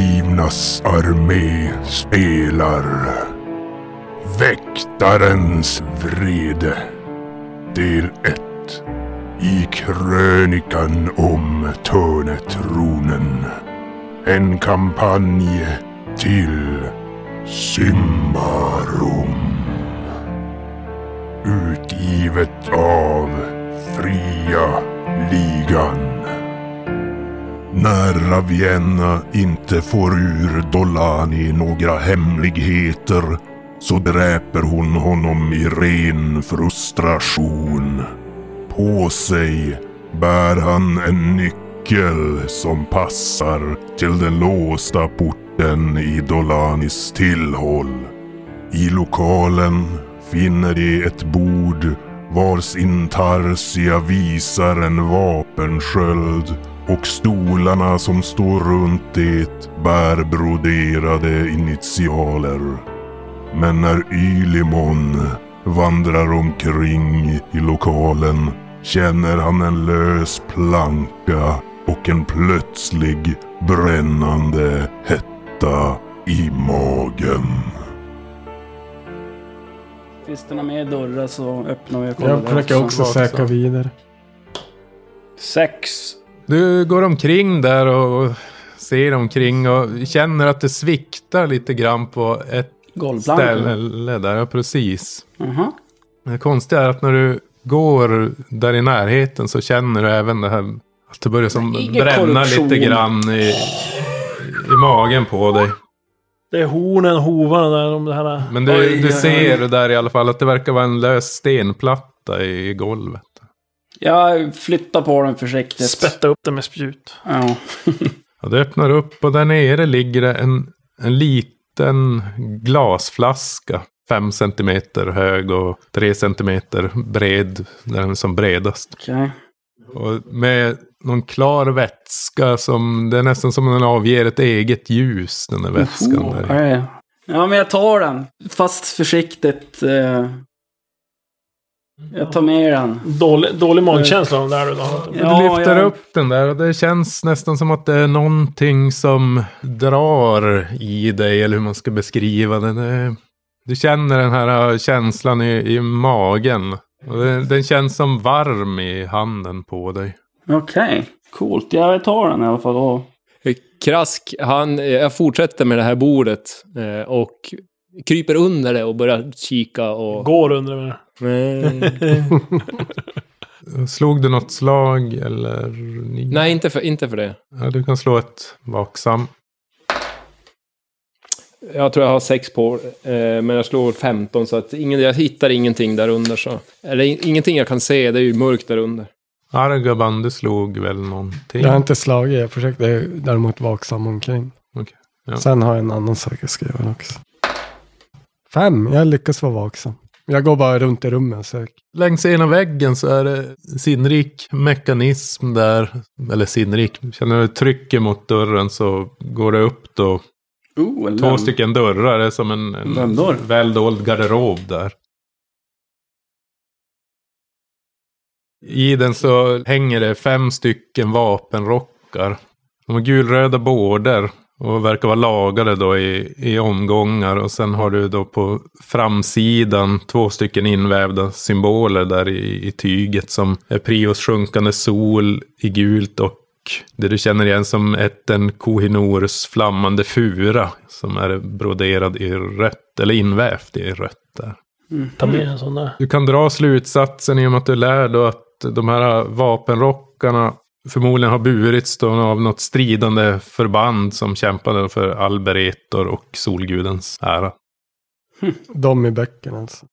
Lejonernas armé spelar Väktarens vrede Del 1 I krönikan om Törnetronen En kampanj till Symbarum Utgivet av Fria Ligan när Ravienna inte får ur Dolani några hemligheter så dräper hon honom i ren frustration. På sig bär han en nyckel som passar till den låsta porten i Dolanis tillhåll. I lokalen finner de ett bord vars intarsia visar en vapensköld och stolarna som står runt det bär broderade initialer. Men när Ylimon vandrar omkring i lokalen känner han en lös planka och en plötslig brännande hetta i magen. Finns det några mer dörrar så öppnar vi och kollar Jag försöker där. också också. söka vidare. Sex. Du går omkring där och och ser omkring och känner att det sviktar lite grann på ett Golvplank. ställe där. Ja, precis. Jaha. Det konstiga är att när du går där i närheten så känner du även det här att det börjar som Ingen bränna korruption. lite grann i, i magen på dig. Det är hornen, hovarna där, de här... Men Oj, du, oj, du oj. ser där i alla fall att det verkar vara en lös stenplatta i golvet. Jag flyttar på den försiktigt. Spätta upp den med spjut. Ja. Ja, det öppnar upp och där nere ligger det en, en liten glasflaska. Fem centimeter hög och tre centimeter bred. där Den är som bredast. Okej. Och med någon klar vätska som, det är nästan som den avger ett eget ljus, den där vätskan. Oh, Där. ja, ja. ja, men jag tar den. Fast försiktigt. eh. Jag tar med den. Dålig, dålig magkänsla av det där du då. Ja, du lyfter jag- upp den där och det känns nästan som att det är någonting som drar i dig, eller hur man ska beskriva det. det du känner den här äh, känslan i, i magen. Och den, den känns som varm i handen på dig. Okej. Coolt. Ja, jag tar den i alla fall. då. Krask, han, eh, jag fortsätter med det här bordet eh, och kryper under det och börjar kika och... Eh, Går under med det. Nej. Slog du något slag eller? Nej, inte för, inte för det. Ja, du kan slå ett vaksam. Jag tror jag har sex på, eh, men jag slår 15 så att ingen, jag hittar ingenting där under. Så. Eller in- ingenting jag kan se, det är ju mörkt där under. Argaban, du slog väl någonting? Jag har inte slagit, jag försökte jag är däremot vaksam omkring. Okej, ja. Sen har jag en annan sak jag ska göra också. Fem, jag lyckas vara vaksam. Jag går bara runt i rummet och söker. Längs ena väggen så är det sinnrik mekanism där. Eller sinnrik, känner du trycket mot dörren så går det upp då. Oh, en Två lögn. stycken dörrar, det är som en, en Lämndörr. väl dold garderob där. I den så hänger det fem stycken vapenrockar. De har gulröda bårder och verkar vara lagade då i, i omgångar. Och sen har du då på framsidan två stycken invävda symboler där i, i tyget som är Prios sjunkande sol i gult och det du känner igen som etten Kohinors flammande fura som är broderad i rött, eller invävt i rött där. Mm. Ta med Mm. en sån där. Du kan dra slutsatsen i och med att du lär då att de här vapenrockarna förmodligen har burits då av något stridande förband som kämpade för Alberetor och Solgudens ära. De i böckerna alltså.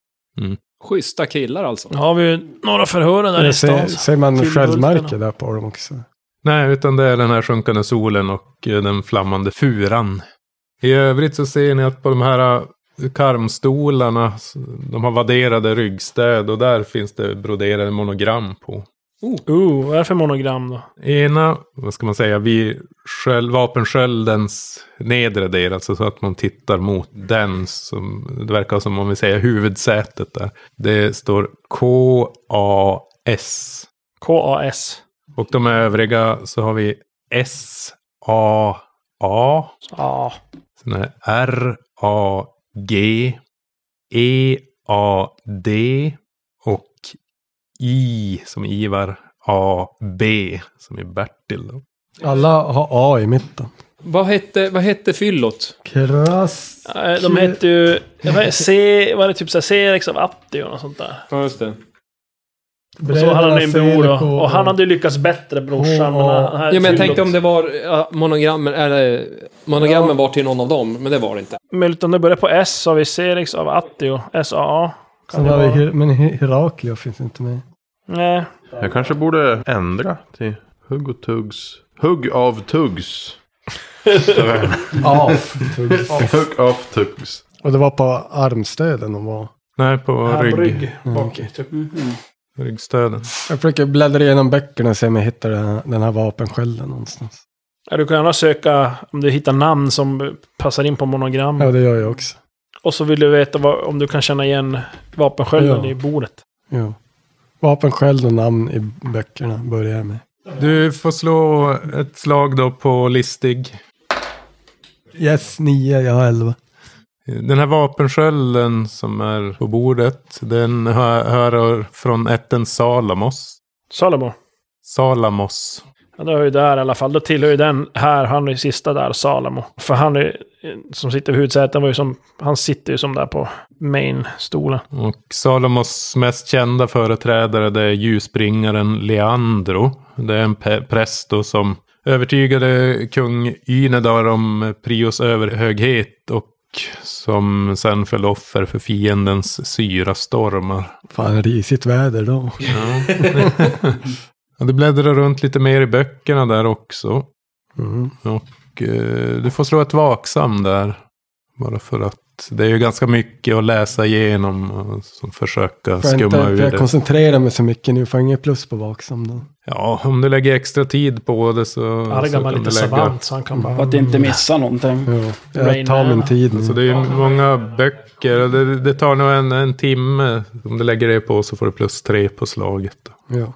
Schyssta killar alltså. Har vi några förhör där Eller i ser, stan? ser man Filmburkarna. sköldmärke där på dem också? Nej, utan det är den här sjunkande solen och eh, den flammande furan. I övrigt så ser ni att på de här eh, karmstolarna, s- de har vadderade ryggstöd och där finns det broderade monogram på. Oh, vad är det för monogram då? Ena, vad ska man säga, vid sköld, vapensköldens nedre del, alltså så att man tittar mot den. Som, det verkar som om vi säger huvudsätet där. Det står K-A-S. KAS. Och de övriga så har vi S, A, A. Ja. Sen är det R, A, G, E, A, D och I som Ivar, A, B som är Bertil. Då. Alla har A i mitten. Vad hette, vad hette fyllot? Krass. Nej, Eh, De hette ju... jag vet, C... Var det typ såhär C-rex av Atti och något sånt där? Ja, just det. Och så hade han ju en bror då. Och han hade ju lyckats bättre brorsan. Åh. den här Ja, men jag tänkte fyllot. om det var ja, monogrammen, eller monogrammen var till någon av dem, men det var det inte. Möjligt om det börjar på S så har vi C-rex av Atti och SAA. Kan Sen det har vi, vara? Her- men Her- Heraklion finns inte med. Nej. Jag kanske borde ändra till hugg och tuggs. Hugg av tuggs. Af. hugg av tuggs. och det var på armstöden de var. Nej, på rygg. Mm. Bak i, typ. Mm-hmm. ryggstöden. Jag försöker bläddra igenom böckerna och se om jag hittar den här, den här vapenskölden någonstans. Ja, du kan gärna söka om du hittar namn som passar in på monogram. Ja, det gör jag också. Och så vill du veta vad, om du kan känna igen vapenskölden Ja. i bordet. Jo. Vapensköld och namn i böckerna börjar jag med. Du får slå ett slag då på listig. Yes, nio, jag har elva. Den här vapenskölden som är på bordet, den hör, hör från ätten Salamos. Salomo. Salamos. Ja, det är ju där i alla fall. Då tillhör ju den här, han är ju sista där, Salomo. För han är, som sitter vid huvudsätet, var ju som, han sitter ju som där på main-stolen. Och Salomos mest kända företrädare det är ljusbringaren Leandro. Det är en pe- präst då som övertygade kung Ynedar om Prios överhöghet och som sen föll offer för fiendens syrastormar. Fan, risigt väder då. Ja, du bläddrar runt lite mer i böckerna där också. Mm. Och, eh, du får slå ett vaksam där. Bara för att det är ju ganska mycket att läsa igenom och som försöka Får jag, inte, skumma får ur jag det. koncentrera mig så mycket nu? Får jag inget plus på vaksam då? Ja, om du lägger extra tid på det så, så Argan var lite savant, så han kan Mm. bara... För att inte missa någonting. Jo, Rain jag tar Man. min tid Så nu. Alltså, det är ju många böcker och det, det tar nog en, en timme. Om du lägger det på så får du plus tre på slaget. Då. Jo.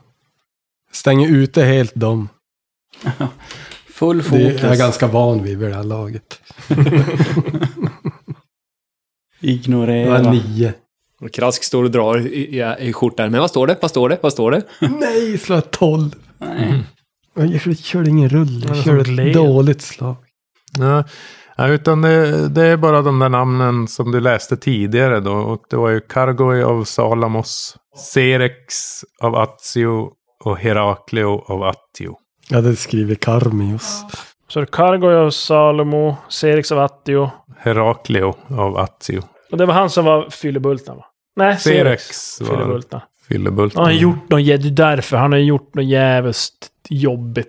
Stänger ute helt dem. Full Det är, fokus. jag är ganska van vid vid det här laget. Det Ignorera. var nio. Och Krask står och drar i, i, i skjortan. Men vad står det? Vad står det? Vad står det? Nej, slå ett tolv. Nej. Jag kör- körde ingen rull. Ja, det Jag körde som ett gled. dåligt slag. Ja, ja, utan det, det är bara de där namnen som du läste tidigare då. Och det var ju Kargoi av Salamos, Serex av Attio och Heraklio av Attio. Jag hade skrivit Karmios. Så det är Kargoy av Salomo, Serix av Attio. Heraklio av Attio. Och det var han som var fyllebulten va? Nej, Serix. Serex var Mm. Fyllebulten. fyllebulten. Han har gjort något, jä- det är därför han har gjort något jävligt jobbigt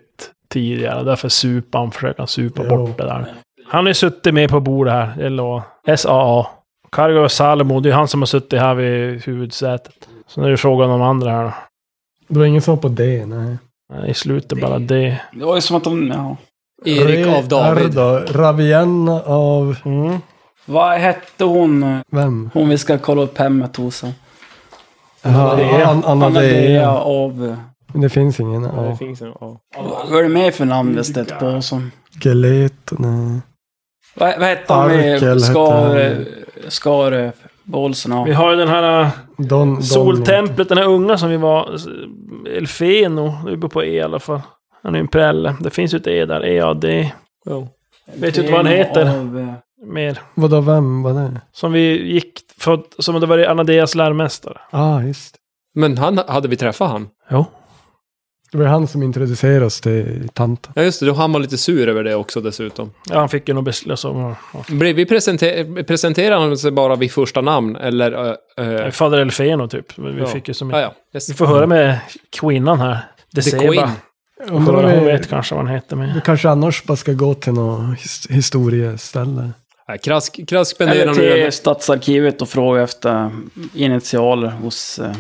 tidigare. Därför supa han, försöker han supa Jo. bort det där. Han har ju suttit med på bordet här, det lovar jag. SAA. Kargo Salomo, det är han som har suttit här vid huvudsätet. Sen är det frågan om de andra här då. Det var ingen som var på D, nej. Nej, I slutet bara det. Det var ju som att de... Ja. Erik av David. Arda, Ravienna av Mm. Vad hette hon? eh? vem? Hon vi ska kolla upp hemmet hos. Ja, An- Anna Anna-Dea Dea. av... Men Det finns ingen A. Vad är det mer för namn vi stött på? Som, Gelet, nej. vad, vad hette han Arkel med hette skar... Skar... Bolsen Vi av? har ju den här äh, Don, Don, soltemplet, den här unga som vi var. äh, Elfeno, det bor på E i alla fall. Han är ju en prälle. Det finns ju ett E där, EAD. Vet du inte vad han heter? Av, eh, Mer. Vadå, vem var det? Som vi gick för, som det var i Anadeas läromästare. Ah, just det. Men han, hade vi träffat han? Jo. Det var han som introducerade oss till tanten. Ja, just det. Då han var lite sur över det också dessutom. Ja, han fick ju nog alltså, beslut som... ja. Blev vi presenter- presenterade han sig bara vid första namn, eller? eh, eh, Fader Elfeno typ. Men vi Ja. fick ju som... ja, ja. Vi Yes. får höra med kvinnan här. The Deceba. Queen. Hon Undrar vi, vet kanske vad han heter vi men... kanske annars bara ska gå till något his- historieställe. Ja, Krask, krask Eller spenderar nu... till Stadsarkivet och fråga efter eh, initialer hos... eh,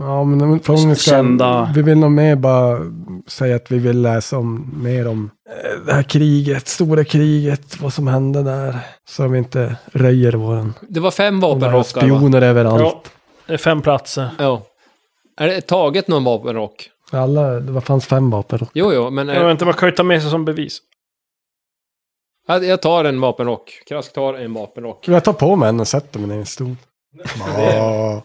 Ja, men frågan ska, Kända- Vi vill nog mer bara säga att vi vill läsa om, mer om eh, det här kriget, stora kriget, vad som hände där. Så vi inte röjer våran. Det var fem De har vapenrockar, va? spioner överallt. Ja. Det är fem platser. Ja. Är det taget någon vapenrock? Alla, det var- fanns fem vapen. Jo, jo, men... eh, Jag vet inte, man kan ju ta med sig som bevis. Jag, jag tar en vapenrock. Krask tar en vapenrock. Jag tar på mig en och sätter mig ner i en stol. Ja,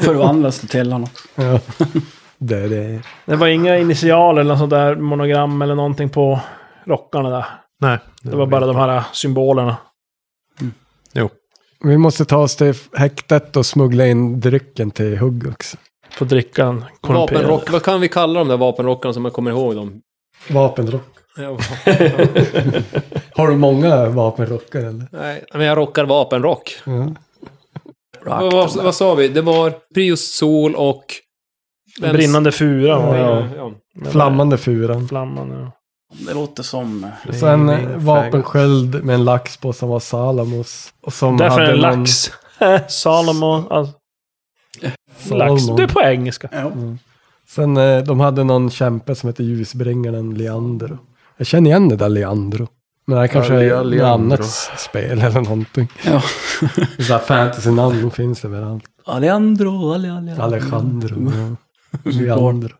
Förvandlas till honom. ja. Det är det. Det var inga initialer eller något sånt där monogram eller någonting på rockarna där. Nej. Det var bara de här symbolerna. Vi måste ta oss till häktet och smuggla in drycken till hugg också. Få dricka en korrumperad. Vapenrock. Vad kan vi kalla de där vapenrockarna som jag kommer ihåg dem? Vapenrock. Jag- Har du många vapenrockar eller? Nej, men jag rockar vapenrock. Ja. Vad, vad, vad sa vi? Det var Prius Sol och... En brinnande fura var det. Ja. Ja. Flammande furan. Flamman, ja. Det låter som... Sen eh, vapensköld med en lax på som var Salamos. Och som Därför är hade det någon- lax. Salomo. Alltså, Salmon. lax. Det är på engelska. Ja. Sen eh, de hade någon kämpe som hette ljusbringaren Leandro. Jag känner igen det där Leandro. Men det här kanske Ja, är Le- något Leandro. annat spel eller någonting. Ja. Sådär fantasy-namn finns det överallt. Alejandro, Ale- Ale- Mm. Alejandro. ja. Leandro.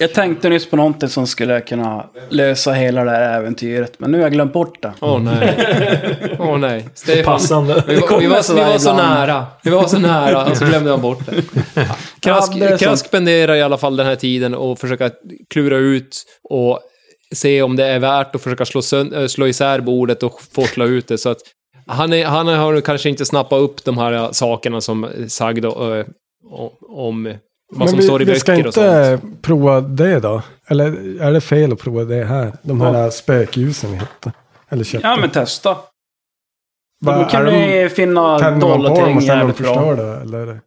Jag tänkte nyss på någonting som skulle kunna lösa hela det här äventyret, men nu har jag glömt bort det. Åh nej. Åh nej. Stefan. Passande. Vi var, vi, var, så vi var så ibland. nära. Vi var så nära och så glömde jag bort det. Krask, Ja, det är sant. Krask spenderar i alla fall den här tiden och försöka klura ut och se om det är värt att försöka slå, sönd- äh, slå isär bordet och forsla ut det. Så att han, är, han har kanske inte snappat upp de här äh, sakerna som är sagda äh, om, om vad som vi, står i vi ska böcker och inte sånt. prova det då? Eller är det fel att prova det här? De här spökljusen vi hittade. Eller köpte. Ja, men testa. Vad Då är kan de- ni finna Tänder man på dem dollarting och sen de jävligt bra. förstör det? Eller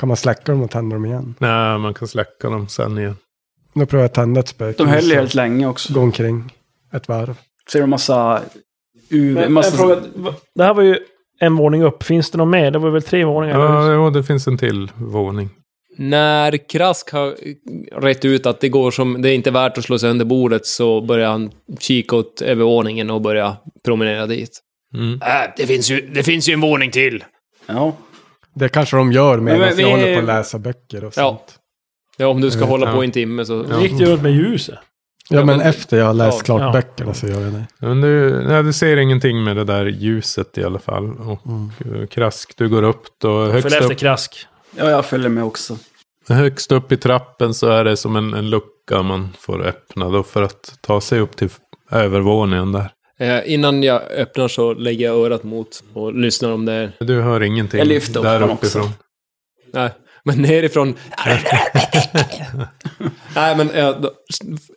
kan man släcka dem och tända dem igen? Nej, man kan släcka dem sen igen. Nu provar jag att tända ett spökljus. De höll ju och helt länge också. Gå omkring ett varv. Ser du massa... UV, Men, en massa fråga, va- det här var ju en våning upp. Finns det någon mer? Det var väl tre våningar? Ja, jo, det finns en till våning. När Krask har äh, rätt ut att det går som, det är inte värt att slå sönder bordet så börjar han kika åt övervåningen och börja promenera dit. Mm. Äh, det, finns ju, det finns ju en våning till. Ja. Det kanske de gör medan Men vi vi- håller på att läsa böcker och Ja. sånt. Ja, om du ska hålla ja. på i en timme så... Då gick det ju runt med ljuset. Ja, Ja, men men- efter jag har läst Ja, klart ja. böckerna så gör jag det. Men du, nej, du ser ingenting med det där ljuset i alla fall. Och eh, Krask, du går upp då. Högst Följ efter upp, krask. ja, jag följer med också. högst upp i trappen så är det som en, en lucka man får öppna då för att ta sig upp till övervåningen där. Eh, innan jag öppnar så lägger jag örat mot och lyssnar om det är... Du hör ingenting Jag lyfter upp där honom också. uppifrån. Nej, men nerifrån... Nej, men jag då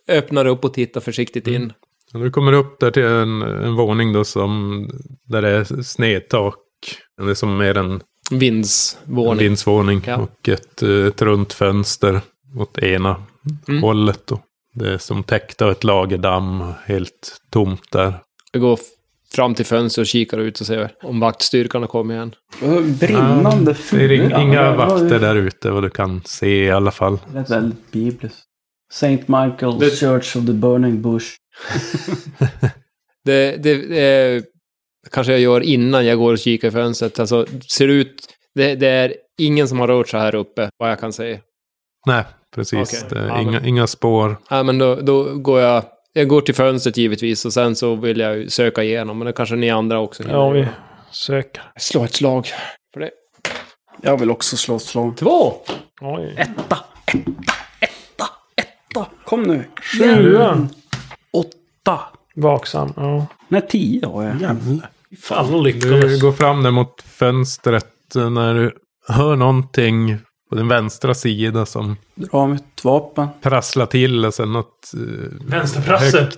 öppnar upp och tittar försiktigt Mm. in. Och Du kommer upp där till en, en våning då som, där det är snedtak. Det är som mer en En Vindsvåning. vindsvåning Ja. och ett, eh, ett runt fönster åt ena Mm. hållet. Då. Det är som täckt av ett lager damm, helt tomt där. Jag går f- fram till fönstret och kikar ut och ser om vaktstyrkan har kommit igen. Brinnande Ah. Det är ing- fura. inga var ju- vakter där ute vad du kan se i alla fall. Det lät väldigt bibliskt. St. Michael's Church of the Burning Bush. Det, det, eh, kanske jag gör innan jag går och kikar i fönstret. Alltså, ser det ut... Det, det är ingen som har rört sig här uppe, vad jag kan säga. Nej, precis. Okej. Det är Ja, inga, inga spår. Ja, men då, då går jag... Jag går till fönstret givetvis och sen så vill jag ju söka igenom. Men det kanske ni andra också hinner Ja, vi göra. söker. Slå ett slag. Jag vill också slå ett slag. Två! Oj. Kom nu. Sjuan. Åtta. Vaksam. Ja. Nej, tio har jag. Jävlar. Fan, de Du lyckades. går fram där mot fönstret eh, när du hör någonting på din vänstra sida som Dra mitt vapen. prasslar till och sen något eh, Vänsterprasse.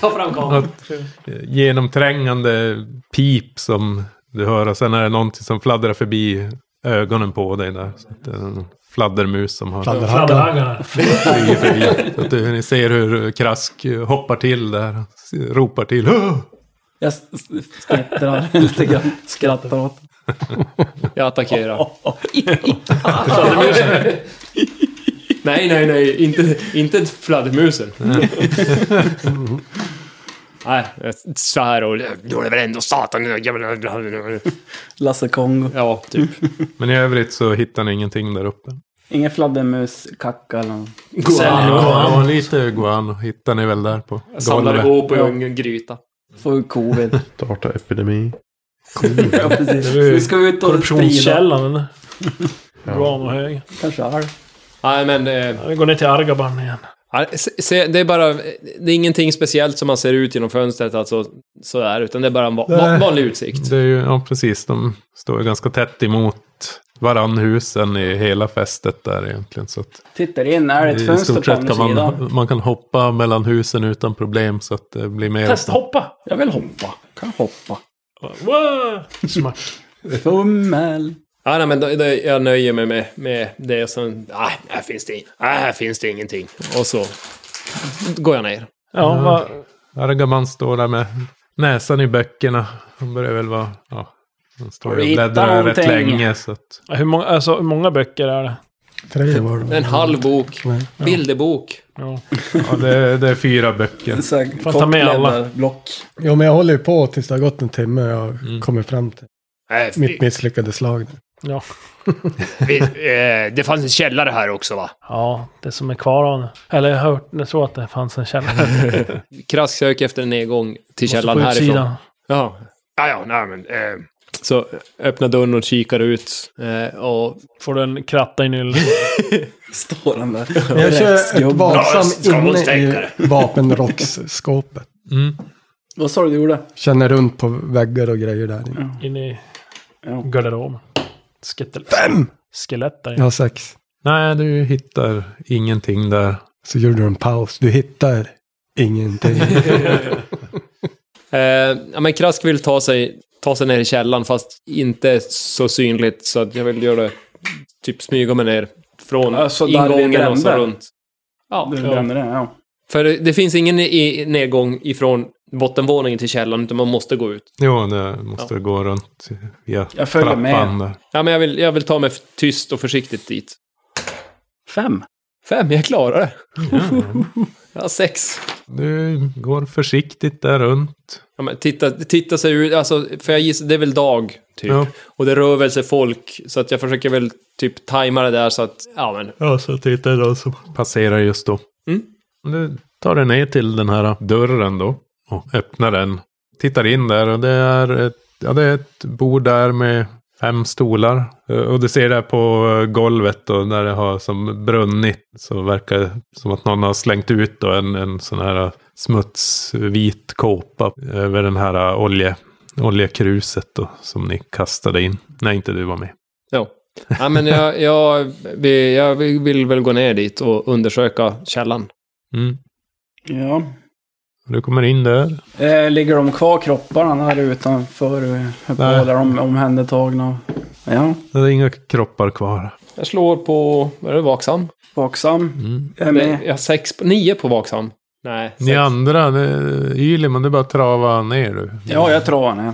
Ta fram kameran. något eh, genomträngande pip som du hör och sen är det någonting som fladdrar förbi ögonen på dig där. Så att det är en fladdermus som har Fladderhackan. Fladderhaggarna. flugit förbi. Så att du, ni ser hur Krask eh, hoppar till där, s- ropar till. "Åh!" Jag s- s- skrattar lite grann. Skrattar åt Jag attackerar. nej, nej, nej. Inte, inte fladdermusen. nej, jag svär och... Då är det väl ändå satan. Lasse Kongo. Ja, typ. Men i övrigt så hittar ni ingenting där uppe. Ingen fladdermus, kacka eller något. Ja, lite guano hittar ni väl där på Jag samlar golvet. ihop och gör en gryta. Får covid. Starta epidemi. ja, precis. Nu ska vi ut och sprida. Korruptionskällan eller? Guanohögen. Kanske halv. Nej, men... Eh, Ja, Vi går ner till Argaban igen. ja, se- se, det är bara... Det är ingenting speciellt som man ser ut genom fönstret, alltså sådär, utan det är bara en va- va- Nej. vanlig utsikt. Det är ju, ja precis, de står ju ganska tätt emot varann husen i hela fästet där egentligen. Så att Tittar in, är det ett i fönster stort på sett andra kan sidan? man, man kan hoppa mellan husen utan problem så att det blir mer... Testa hoppa! Jag vill hoppa. Kan hoppa. Wow. Smart. Fummel. Ja, nej, men då, då, jag nöjer mig med, med det och sen... Ah, här finns det, in, ah, här finns det ingenting. Och så går jag ner. Ja, vad... Argaman står där med näsan i böckerna. Han börjar väl vara... Ja, han står Har du ju och hittat bläddrar rätt någonting? länge så att... Hur många, alltså, hur många böcker är det? Tre var det. En halv bok. Nej. Bilderbok. Ja. Ja, det, det är fyra böcker. Så här, Får ta med alla. kortbläddar, Block. Jo, men jag håller ju på tills det har gått en timme och jag har kommit fram till Nej, mitt misslyckade slag. Ja. det fanns en källare här också, va? ja, det som är kvar av den. Eller jag hört, jag tror att det fanns en källare. Krask sök efter en nedgång till källaren Måste på härifrån. utsidan. Ja. Ja, ja, nej men. Eh. Så öppnar dörren och kikar ut. Eh, och Får du en kratta i nyllet. Står han där. Men jag kör ett Rättsgubbe. vaksam inne i vapenrocksskåpet. Mm. Vad sa du du gjorde? Känner runt på väggar och grejer där inne. In i Ja. garderoben. Skittel. Fem! Skelett där Jag inne. har sex. Nej, du hittar ingenting där. Så gjorde du en paus. Du hittar ingenting. Eh, ja, men Krask vill ta sig, ta sig ner i källaren fast inte så synligt så att jag vill göra det, typ smyga mig ner från Ja, så där vi ingången och så brände. runt. Ja, Du ja. brände den, ja. För det, det finns ingen i, i nedgång ifrån bottenvåningen till källaren utan man måste gå ut. Jo, det måste gå runt via Jag följer trappan med. där. Ja, men jag vill, jag vill ta mig tyst och försiktigt dit. Fem. Fem, jag klarar det. Jag har sex. Du går försiktigt där runt. Ja, men titta, titta sig ut, alltså, för jag gissar, det är väl dag, typ. Ja. Och det rör väl sig folk, så att jag försöker väl typ tajma det där så att, ja men. Ja, så tittar jag som passerar just då. Mm. Du tar dig ner till den här dörren då och öppnar den. Tittar in där och det är ett, ja, det är ett bord där med fem stolar. Eh, Och du ser där på eh, golvet då när det har som brunnit så verkar det som att någon har slängt ut då en, en sån här eh, smutsvit kåpa över den här eh, olje, oljekruset då som ni kastade in. Nej, inte du var med. Ja. Ja, men jag, jag, vi- jag vill vill väl gå ner dit och undersöka källan. Mm. Ja. Du kommer in där. Eh, ligger de kvar kropparna här utanför? eh, På Nej. där de omhändertagna? Ja. Det är inga kroppar kvar. Jag slår på, vad är det, vaksam? Vaksam. Mm. Jag är Nej, med. jag har sex, på- nio på vaksam. Nej, sex. Ni andra, det- Yliman, det är bara att trava ner du. Ja, jag travar ner.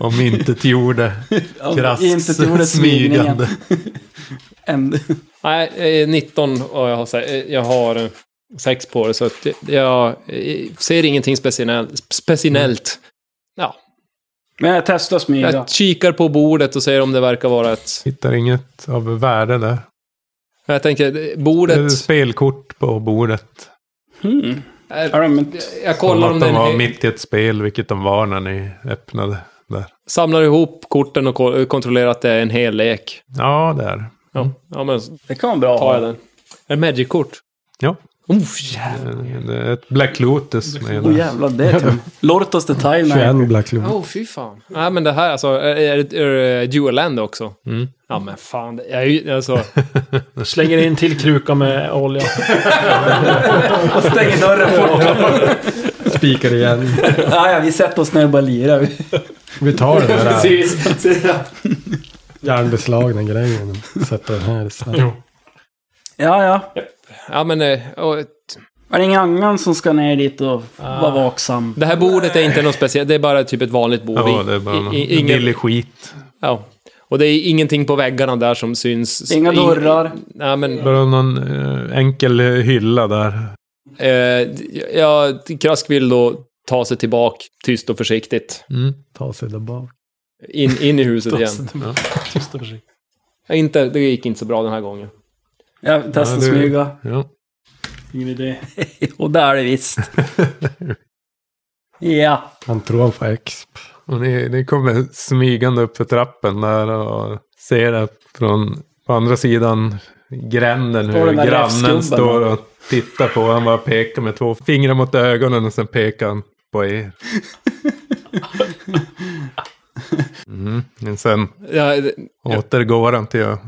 Om inte till gjorde krass Inte till ordet smygningen. smygande. Änd- Nej, eh, 19 och jag har, se- eh, jag har eh, sex på det, så att jag- jag eh, ser ingenting speciellt. speciellt. Ja, Men jag testar smyga. Jag kikar på bordet och ser om det verkar vara ett... Hittar inget av värde där. Jag tänker, eh, Det är bordet... spelkort på bordet. Hmm. Eh, Är de inte... Jag Som kollar om att de den... var he- mitt i ett spel, vilket de var när ni öppnade där. Samlar ihop korten och ko- kontrollerar att det är en hel lek. Ja, där. Ja, ja men Det kan vara bra. tar jag den. Ett Magic-kort. Ja. Oh, jävlar. Det är ett Black Lotus Oh, med Åh där. jävlar, det är tungt. Lortos Detail. nej. 21 Black Loop. Oh, fy fan. Nej, men det här alltså. Är, är, det- är det Dual Land också? Mm. Ja, men fan. det- Jag är ju alltså... Slänger in till kruka med olja. Och stänger dörren fort. Spikar igen. ja, ja, vi sätter oss ner och bara lirar. Vi- Vi tar den där Precis. järnbeslagna grejen. och Sätter den här istället. ja, ja. Ja, men... eh, Och, Var det ingen annan som ska ner dit och Ah. vara vaksam? det här bordet är inte något speciellt. Det är bara typ ett vanligt bord. Ja, det är bara I- i- någon ingen- billig skit. Ja. Och det är ingenting på väggarna där som syns. Inga Ing- dörrar. Nej, men... Bara någon eh, enkel eh, hylla där. Eh, ja, Krask vill då ta sig tillbaka tyst och försiktigt. Mm. Ta sig där bak. In, in i huset igen. Ja. Tyst och försiktigt. Nej, Inte, det gick inte så bra den här gången. Jag testar Ja, det- smyga. Ja. Ingen idé. Och där är det visst. ja. Han tror han får exp. Och ni, ni kommer smygande upp för trappen där och ser det från på andra sidan gränden Står hur den där grannen rävsgubben. står och tittar på. Han bara pekar med två fingrar mot ögonen och sen pekar han på er. Mm. Men sen Ja, det- återgår han till att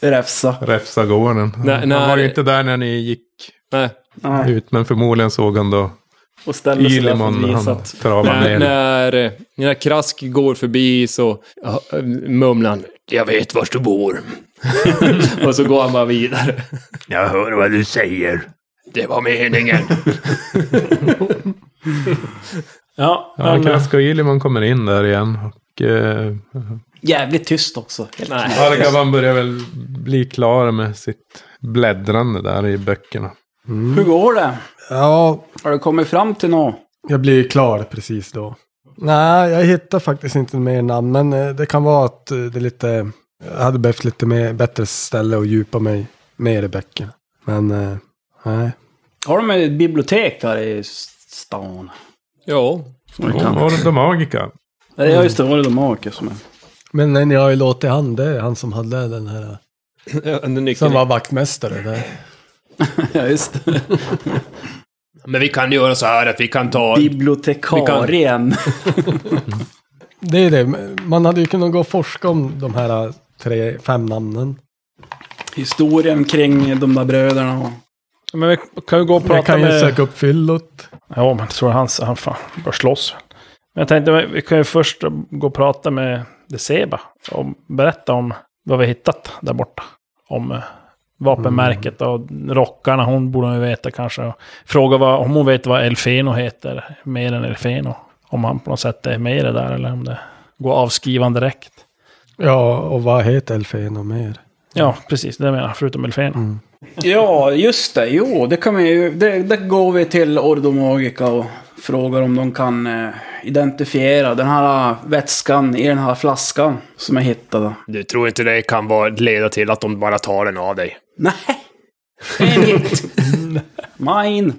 Räfsa. räfsa gården. Han- Nej, nej. Han var ju inte där när ni gick nej. Nej. ut men förmodligen såg han då Och ställer sig där Ylemon för att visa han att... travade När, ner. när, eh, när Krask går förbi så ja, eh, mumlar han Jag vet var du bor. och så går han bara vidare. Jag hör vad du säger. Det var meningen. Ja, Ja, men, Krask och Ylemon kommer in där igen. Och, eh, Jävligt tyst också. Nej. Argavan börjar väl bli klar med sitt bläddrande där i böckerna. Mm. Hur går det? Ja, Har du kommit fram till något? jag blir klar precis då. Nej, jag hittar faktiskt inte mer namn, men eh, det kan vara att eh, det är lite... Jag hade behövt lite mer, bättre ställe att djupa mig mer i böckerna. Men, eh, nej. Har de ett bibliotek här i stan? ja. Ordo Magica. Nej, ja, just det. Var det de åker som är... Men nej, ni har ju låtit han, det är han som hade den här... den nyckeln. Som var vaktmästare där. Ja, just det. Men vi kan göra så här att vi kan ta... Bibliotekarien. Det är det, man hade ju kunnat gå och forska om de här tre, fem namnen. Historien kring de där bröderna. och- men vi kan ju gå och Jag prata kan ju med... söka upp fyllot. Ja, men tror jag han, han fan, bör slåss. Men jag tänkte, vi kan ju först gå och prata med Deseba och berätta om vad vi hittat där borta. Om eh, vapenmärket och rockarna, hon borde ju veta kanske. Och Fråga vad, om hon vet vad Elfeno heter, mer än Elfeno. Om han på något sätt är med i det där eller om det går avskrivan direkt. Ja, och vad heter Elfen och mer? Ja, precis, det menar jag, förutom Elfeno. Mm. Ja, just det. Jo, det kan vi ju... Det, det går vi till Ordo Magica och frågar om de kan eh, identifiera den här vätskan i den här flaskan som jag hittade. Du tror inte det kan vara, leda till att de bara tar den av dig? Nej! Det är mitt. Mine!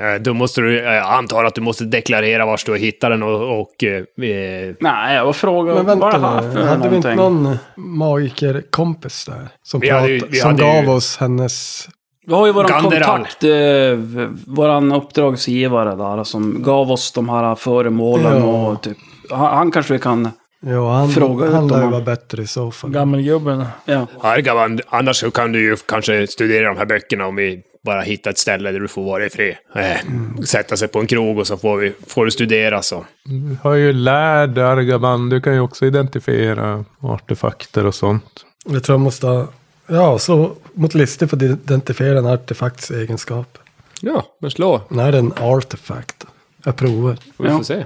Eh, Då måste du, jag antar att du måste deklarera var du hittar den och... och eh, eh, Nej, jag frågar Men vad det vänta här nu, för hade vi inte någonting. någon magikerkompis där? Som, Vi hade ju- prat, vi som hade gav ju- oss hennes... Vi har ju våran Ganderal. kontakt, eh, v- våran uppdragsgivare där som gav oss de här föremålen Ja. och typ. Han, han kanske vi kan... Ja, han, Fråga ut han om lär ju han- vara bättre i så fall. Gammelgubben. Ja. Argavan, annars så kan du ju kanske studera de här böckerna om vi bara hittar ett ställe där du får vara i fred. Eh, sätta sig på en krog och så får, vi, får du studera så. Du har ju lärd Argaban. Du kan ju också identifiera artefakter och sånt. Jag tror jag måste ha... Ja, så mot listor för att identifiera en artefakts egenskap. Ja, men slå. Nej, det är en artefakt. Jag provar. Vi får Ja. se.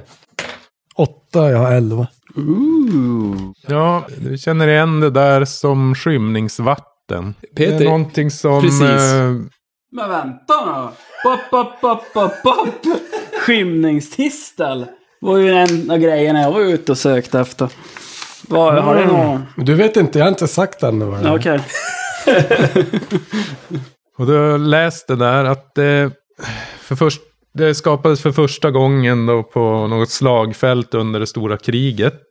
Åtta, jag har elva. Ja, du känner igen det där som skymningsvatten. det Peter, är någonting som... precis. eh, Men vänta nu! Pop, pop, pop, pop, pop. Skymningstistel! var ju en av grejerna jag var ute och sökte efter. Vad, har du någon? Du vet inte, jag har inte sagt ännu vad det Ja, är. Okej. Och då läste där att det, för först, det skapades för första gången då på något slagfält under det stora kriget.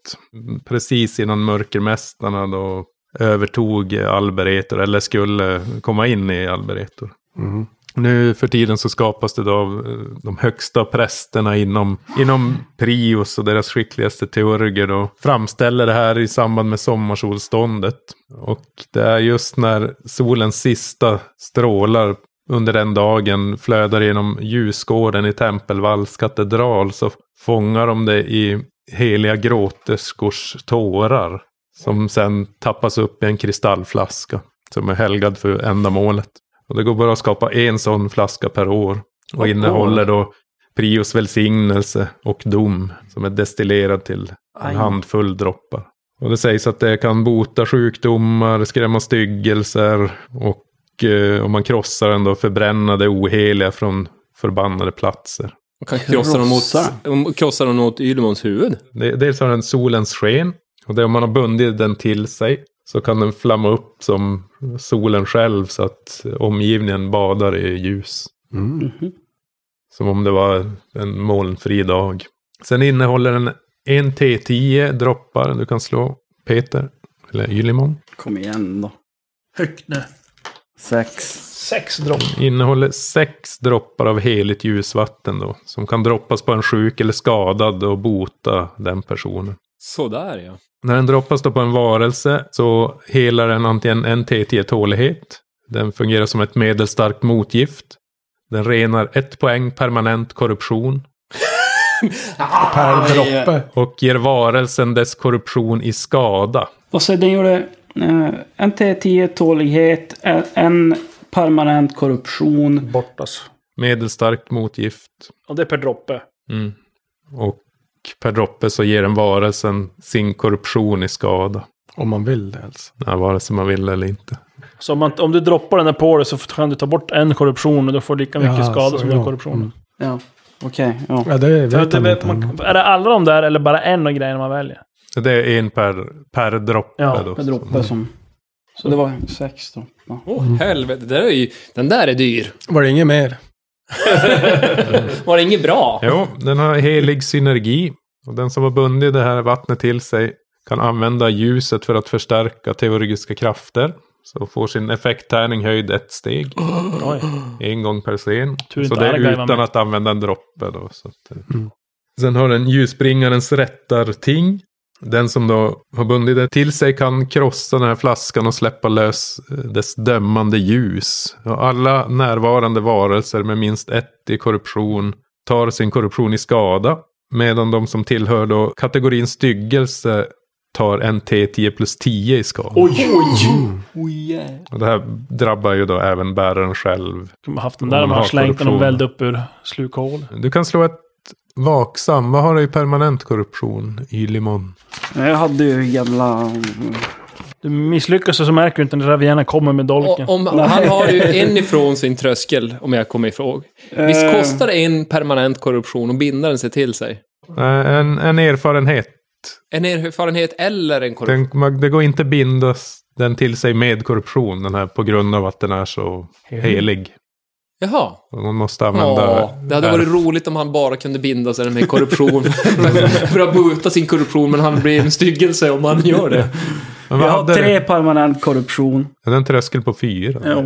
Precis innan mörkermästarna då övertog Alberetor, eller skulle komma in i Alberetor. Nu för tiden så skapas det då av eh, de högsta prästerna inom, inom Prius och deras skickligaste teurger då framställer det här i samband med sommarsolståndet. Och det är just när solens sista strålar under den dagen flödar genom ljusgården i Tempelvalls katedral så fångar de det i heliga gråterskors tårar. Som sen tappas upp i en kristallflaska som är helgad för ändamålet. Och det går bara att skapa en sån flaska per år. Och innehåller då Prios välsignelse och dom som är destillerad till en handfull droppar. Och det sägs att det kan bota sjukdomar, skrämma styggelser och eh, om man krossar den då förbränna det oheliga från förbannade platser. kan krossa dem Krossa. mot, krossa dem mot Ylemons huvud. Det- Dels har den solens sken. Och det är om man har bundit den till sig. Så kan den flamma upp som solen själv så att omgivningen badar i ljus. Mm-hmm. Mm. Som om det var en molnfri dag. Sen innehåller den en T10 droppar du kan slå Peter. Eller Ylimon. Kom igen då. Högt nu. Sex. Sex dropp. Innehåller sex droppar av heligt ljusvatten då. Som kan droppas på en sjuk eller skadad och bota den personen. Sådär ja. När den droppas då på en varelse så helar den antingen en T10 tålighet. Den fungerar som ett medelstarkt motgift. Den renar ett poäng permanent korruption. Per droppe. Och ger varelsen dess korruption i skada. Och så den gjorde eh, en T10 tålighet, en, en permanent korruption. Bort alltså. Medelstarkt motgift. Och det är per droppe. Mm. Och per droppe så ger den varelsen sin korruption i skada. Om man vill det alltså. Ja, vare sig man vill eller inte. Så om, man, om du droppar den här på dig så kan du ta bort en korruption och då får du lika mycket Ja, skada så som du har ja. korruptionen. Mm. Ja, okej. ja. Ja, det Så vet det, jag vet inte. man, är det alla de där eller bara en av grejerna man väljer? Så Det är en per, per droppe. Ja, då. Per droppe som... Så det var sex då. Ja. Åh helvete, det där är ju, den där är dyr. Var det inget mer? Var det inget bra? Jo, den har helig synergi. Och den som har bundit det här vattnet till sig kan använda ljuset för att förstärka teoretiska krafter. Så får sin effekttärning höjd ett steg. Oj. En gång per scen. Tur Så inte det är Argai var utan med. Mm. att använda en droppe då. Så att, eh. Sen har den ljusbringarens rättarting. Den som då har bundit det till sig kan krossa den här flaskan och släppa lös eh, dess dömande ljus. Och alla närvarande varelser med minst ett i korruption tar sin korruption i skada. Medan de som tillhör då kategorin styggelse tar en T10 plus 10 i skada. Oh, Och det här drabbar ju då även bäraren själv. Kunde man haft den Om där om man man har har slängt den och korruption. välde upp ur slukhål. Du kan slå ett vaksam. Vad har du i permanent korruption i Limon? Jag hade ju jävla... Du misslyckas och så märker du inte när ravierna kommer med dolken. Och, om, han har ju en ifrån sin tröskel, om jag kommer ihåg. Visst kostar det en permanent korruption och binda den sig till sig? Eh, En, en erfarenhet. En erfarenhet eller en korruption? Den, man- det går inte bindas den till sig med korruption. Den här på grund av att den är så helig. Jaha. Och Man måste använda... Ja, det hade varit erf- roligt om han bara kunde binda sig med korruption. för att bota sin korruption, men han blir en styggelse om han gör det. Men vad Jag har hade tre du? permanent korruption. Det är en tröskel på fyra. Ja.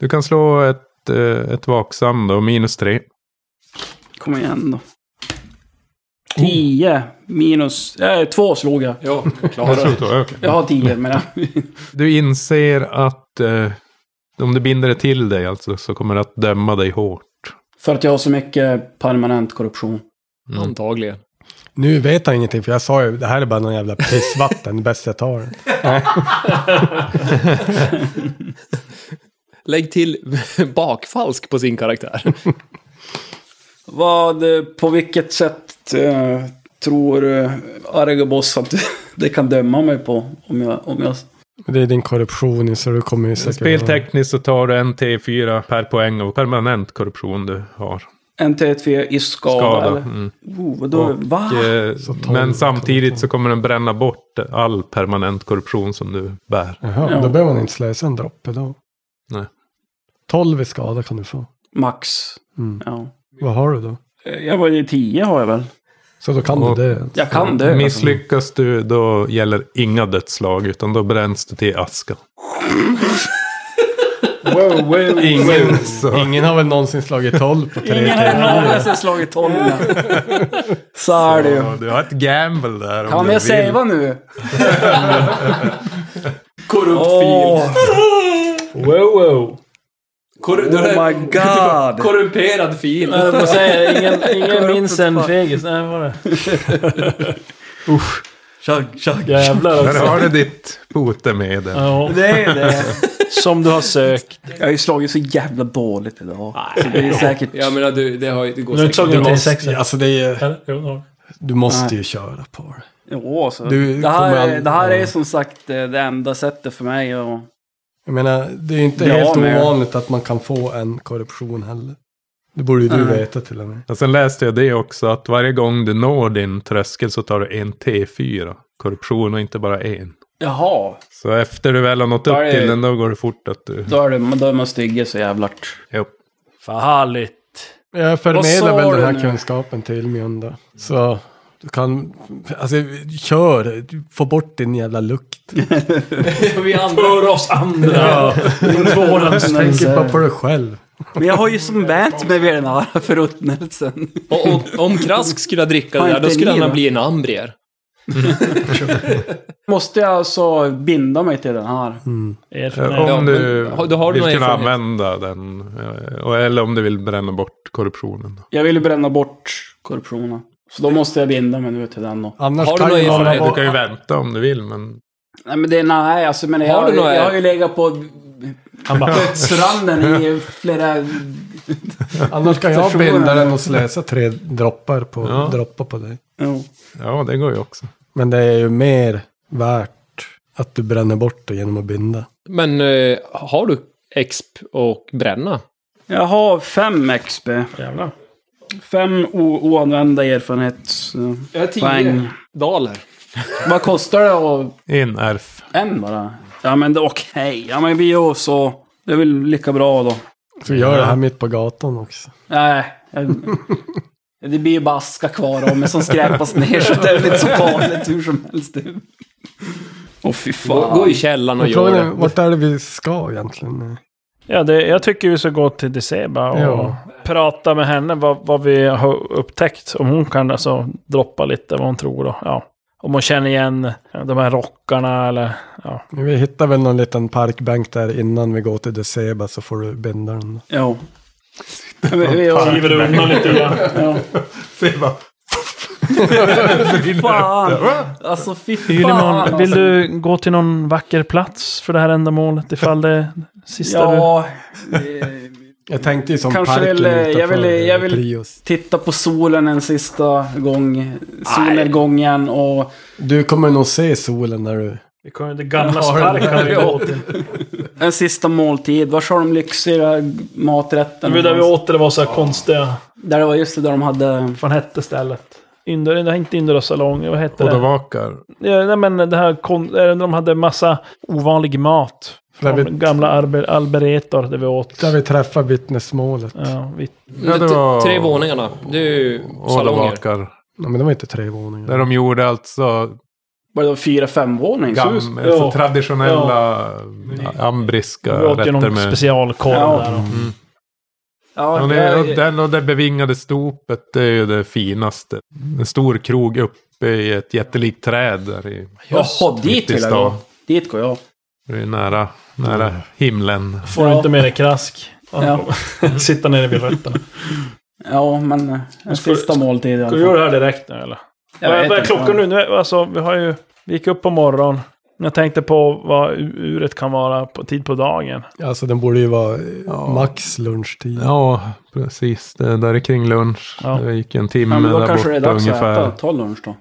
Du kan slå ett, eh, ett vaksam då, minus tre. Kom igen då. Tio minus... Äh, två slog jag. Ja, Jag klarar tror då, okej. Jag har tio men jag... Du inser att eh, om du binder det till dig alltså, så kommer det att döma dig hårt. För att jag har så mycket permanent korruption. Antagligen. Nu vet han ingenting för jag sa ju det här är bara någon jävla pissvatten. det bästa jag tar det. Lägg till bakfalsk på sin karaktär. Vad, eh, på vilket sätt eh, tror eh, Argobos att det kan döma mig på? Om jag, om jag... Det är din korruption så du kommer ju säkert... Speltekniskt så tar du en T4 per poäng av permanent korruption du har. En T4 i skada, Skada. eller? Mm. Oh, vadå? Och, Va? Eh, Så tolv, men tolv. samtidigt så kommer den bränna bort all permanent korruption som du bär. Jaha, Ja. då behöver man inte slösa en droppe då. Nej. 12 i skada kan du få. Max. Mm. Ja. Vad har du då? Eh, Jag var ju 10 har jag väl? Så då kan Och- du det. Jag kan alltså. det. Misslyckas du då gäller inga dödslag utan då bränns du till aska. Wow, wow. Ingen, så, Ingen har väl någonsin slagit 12 på tre Ingen timmar. har någonsin slagit 12 Så är det ju. Ja, du har ett gamble där. om Kan du jag vill. savea nu? Korrupt oh. Wow, wow. Korru- Oh den här- my god. Korrumperad fil. Jag höll på att säga, ingen, ingen Korrupt minns en fegis. Nej, vad var det? Chug, chug. Jävlar Där också. har du ditt botemedel. Ja, Det är det. som du har sökt. Jag har ju slagit så jävla dåligt idag. Så det är säkert... Jag menar, du, det, har, ju- det går Du har inte säkert. slagit en Du T6? måste, alltså det är, Eller? Jo, det har du. du måste ju köra på det. Jo, alltså. så. Du det, här, kommer är- aldrig- det här är ja. som sagt eh, det enda sättet för mig att... Jag menar, det är ju inte Ja, helt men- ovanligt att man kan få en korruption heller. Det borde ju du Nej. veta till och med. Och sen läste jag det också att varje gång du når din tröskel så tar du en T4 korruption och inte bara en. Jaha, Så efter du väl har nått Då är upp till det- den, då går det fort att du... då är, det, då är man stygge så jävlar. Ja. För härligt. Jag Vad förmedlar sa väl den du här nu? kunskapen till Mjön då. Så du kan, alltså kör, få bort din jävla lukt. Vi andra... För oss andra. Alltså, Tänk inte bara på dig själv. eh, Men jag har ju som vänt mig vid den här förruttnelsen. Och, och om Krask skulle dricka det där, då skulle han ha blivit en ambrier. Måste jag alltså binda mig till den här? Erfarenhet. Ja, Ja, Om men du har- då har du vill någon kunna erfarenhet. använda den. eh, och- Eller om du vill bränna bort korruptionen. Jag vill ju bränna bort korruptionen. Så då måste jag binda mig nu till den då. Annars Har du kan någon ju någon erfarenhet? Du av kan ju vänta om du vill, men... Nej men det, nej alltså men jag, Har du har några- jag har ju legat på Han bara... dödsranden i flera... Annars kan jag Förstår jag. binda den och släsa tre droppar på, Ja. droppar på dig. Jo. Ja, det går ju också. Men det är ju mer värt att du bränner bort det genom att binda. Men eh, har du exp och bränna? Jag har fem XP. Jävlar. Fem o- oanvända erfarenhetspoäng. Jag har daler. Vad kostar det att... In erf. En bara? Ja men det- okej. Ja men vi gör så. Det är väl lika bra då. Så gör det här mitt på gatan också. Nej. jag- Det blir ju bara aska kvar om mig som skräpas ner så det är väl inte så farligt hur som helst. Åh fy Gå, fan. gå i källaren och Men gör frågan är, det. vart är det vi ska egentligen? Ja, det, jag tycker vi ska gå till Deceba och Ja. prata med henne vad, vad vi har upptäckt. Om hon kan alltså droppa lite vad hon tror då. Ja. Om hon känner igen de här rockarna eller... Ja. Vi hittar väl någon liten parkbänk där innan vi går till Deceba så får du binda den. Jo. Vi, vi gör Kliver undan lite grann. ja. Seba. Fan! Alltså fy fan. Ylimon, Alltså. vill du gå till någon vacker plats för det här ändamålet? Ifall det är sista du... Ja. eh, Jag tänkte ju som Kanske parken vill- jag utanför vill- jag eh, vill- Prius. Titta på solen en sista gång. Solnedgången och... Du kommer nog se solen när du... Vi kommer till gamla sparkar vi går till. En sista måltid. Var har de lyxiga maträtterna? Det där vi åt det var så här konstiga... Där det var just det där de hade... Vad hette stället? Ynder, det här är inte Indra salong, vad hette Och då det? vakar. Ja, nej men det här kon- eh, de hade massa ovanlig mat. Där Från vi- gamla alber- alberetor där vi åt. Där vi träffar vittnesmålet. Ja. Ja, vi, Ja, det var- Tre våningarna. Det är ju Och då salonger. vakar. men det var inte tre Där våningar. de gjorde alltså Var det fyra femvåning? gam, Så- alltså Ja. traditionella ambriska vi åt ju rätter någon med... specialkorv Ja. där. Och, Ja, Ja, det, det, och, den, och det bevingade stopet det är ju det finaste. En stor krog uppe i ett jättelikt träd där i, Jaha, dit mitt i vill jag stan. gå. Dit går jag. det är nära, nära himlen. får Ja. inte med dig krask. Ja, Sitta nere vid rötterna. ja men eh, en Ska- sista måltid i alla Ska fall. vi göra det här direkt nu eller? Jag vad vet vad är inte. klockan nu? nu är, alltså, vi har ju... Vi gick upp på morgonen. Jag tänkte på vad u- uret kan vara på tid på dagen. Alltså den borde ju vara eh, max lunchtid. Ja, precis. Det där är kring lunch. Ja. Det gick en timme Ja, men då Mm, där kanske det är borta dags ungefär. att äta. Ta lunch då.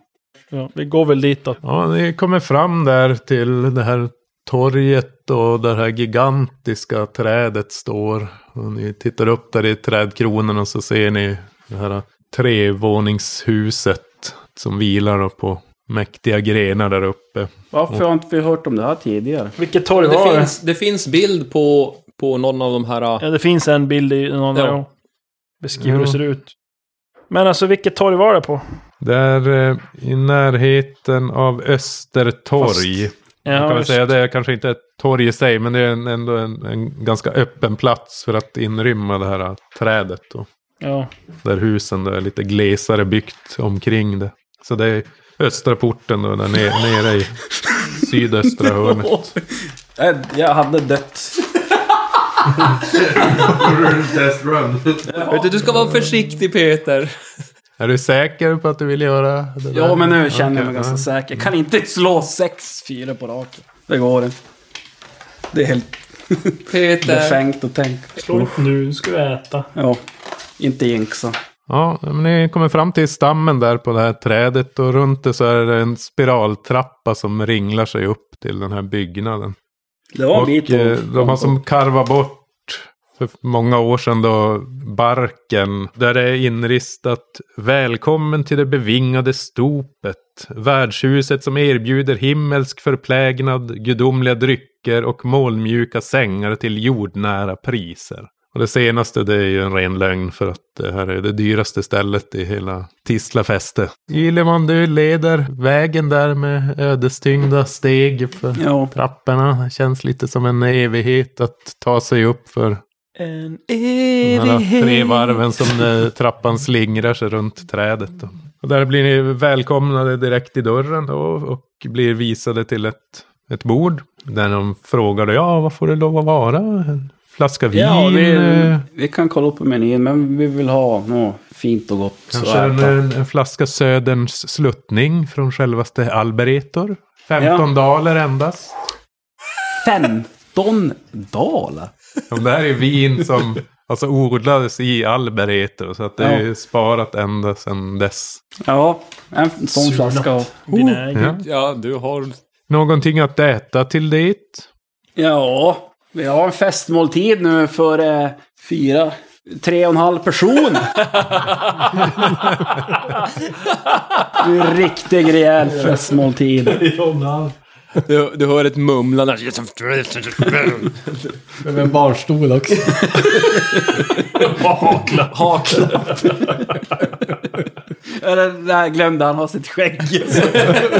Ja, vi går väl ditåt. Ja, ni kommer fram där till det här torget och det här gigantiska trädet står. Och ni tittar upp där i trädkronorna och så ser ni det här trevåningshuset som vilar då på mäktiga grenar där uppe. Varför har inte vi hört om det här tidigare? Vilket torg var Det det? finns, det finns bild på, på någon av de här... eh, Ja, det finns en bild i någon Ja. där jag beskriver hur det Ja. ser ut. Men alltså vilket torg var det på? Där eh, i närheten av Östertorg. Man Ja, kan väl just- säga det är kanske inte ett torg i sig men det är en, ändå en, en ganska öppen plats för att inrymma det här äh, trädet. Då. Ja. där husen då är lite glesare byggt omkring det. Så det är östra porten då, där nere, nere i sydöstra hörnet. Äh, Jag hade dött. Test run. Vet du, du ska vara försiktig Peter. Är du säker på att du vill göra det där? Ja, men nu känner jag mig Okej, ganska säker. Jag kan inte slå sex fyra på raken. Det går inte. Det är helt Peter. befängt att tänka. Slå upp nu, ska vi äta. Ja, inte jinxa. Ja, men ni kommer fram till stammen där på det här trädet och runt det så är det en spiraltrappa som ringlar sig upp till den här byggnaden. Det var en Och bit eh, de har som karvat bort för många år sedan då, barken, där det är inristat Välkommen till det bevingade stopet. Värdshuset som erbjuder himmelsk förplägnad, gudomliga drycker och molnmjuka sängar till jordnära priser. Och det senaste det är ju en ren lögn för att det här är det dyraste stället i hela Tisla fäste. Yleman, du leder vägen där med ödestyngda steg uppför Ja. trapporna. Det känns lite som en evighet att ta sig upp för En de här tre evighet. varven som eh, trappan slingrar sig runt trädet. då. Och där blir ni välkomnade direkt i dörren då, och blir visade till ett, ett bord. Där de frågar, ja vad får det lov att vara? En flaska vin? Ja, vi, eh, vi kan kolla upp på menyn, men vi vill ha något fint och gott. att Kanske en, eh, äta. en, en flaska Söderns sluttning från självaste Alberetor. 15 Ja. daler endast. 15 daler? Och det här är vin som alltså, odlades i Alberetor. Så att det är Ja. sparat ända sedan dess. Ja, en sån flaska. och- Dina Ja. Ja, du har... Någonting att äta till det? Ja, vi har en festmåltid nu för eh, fyra, tre och en halv person. det är en riktig rejäl festmåltid. Du, du hör ett mumlande. Med en barnstol också. Haklapp. Eller nej, glömde han ha sitt skägg.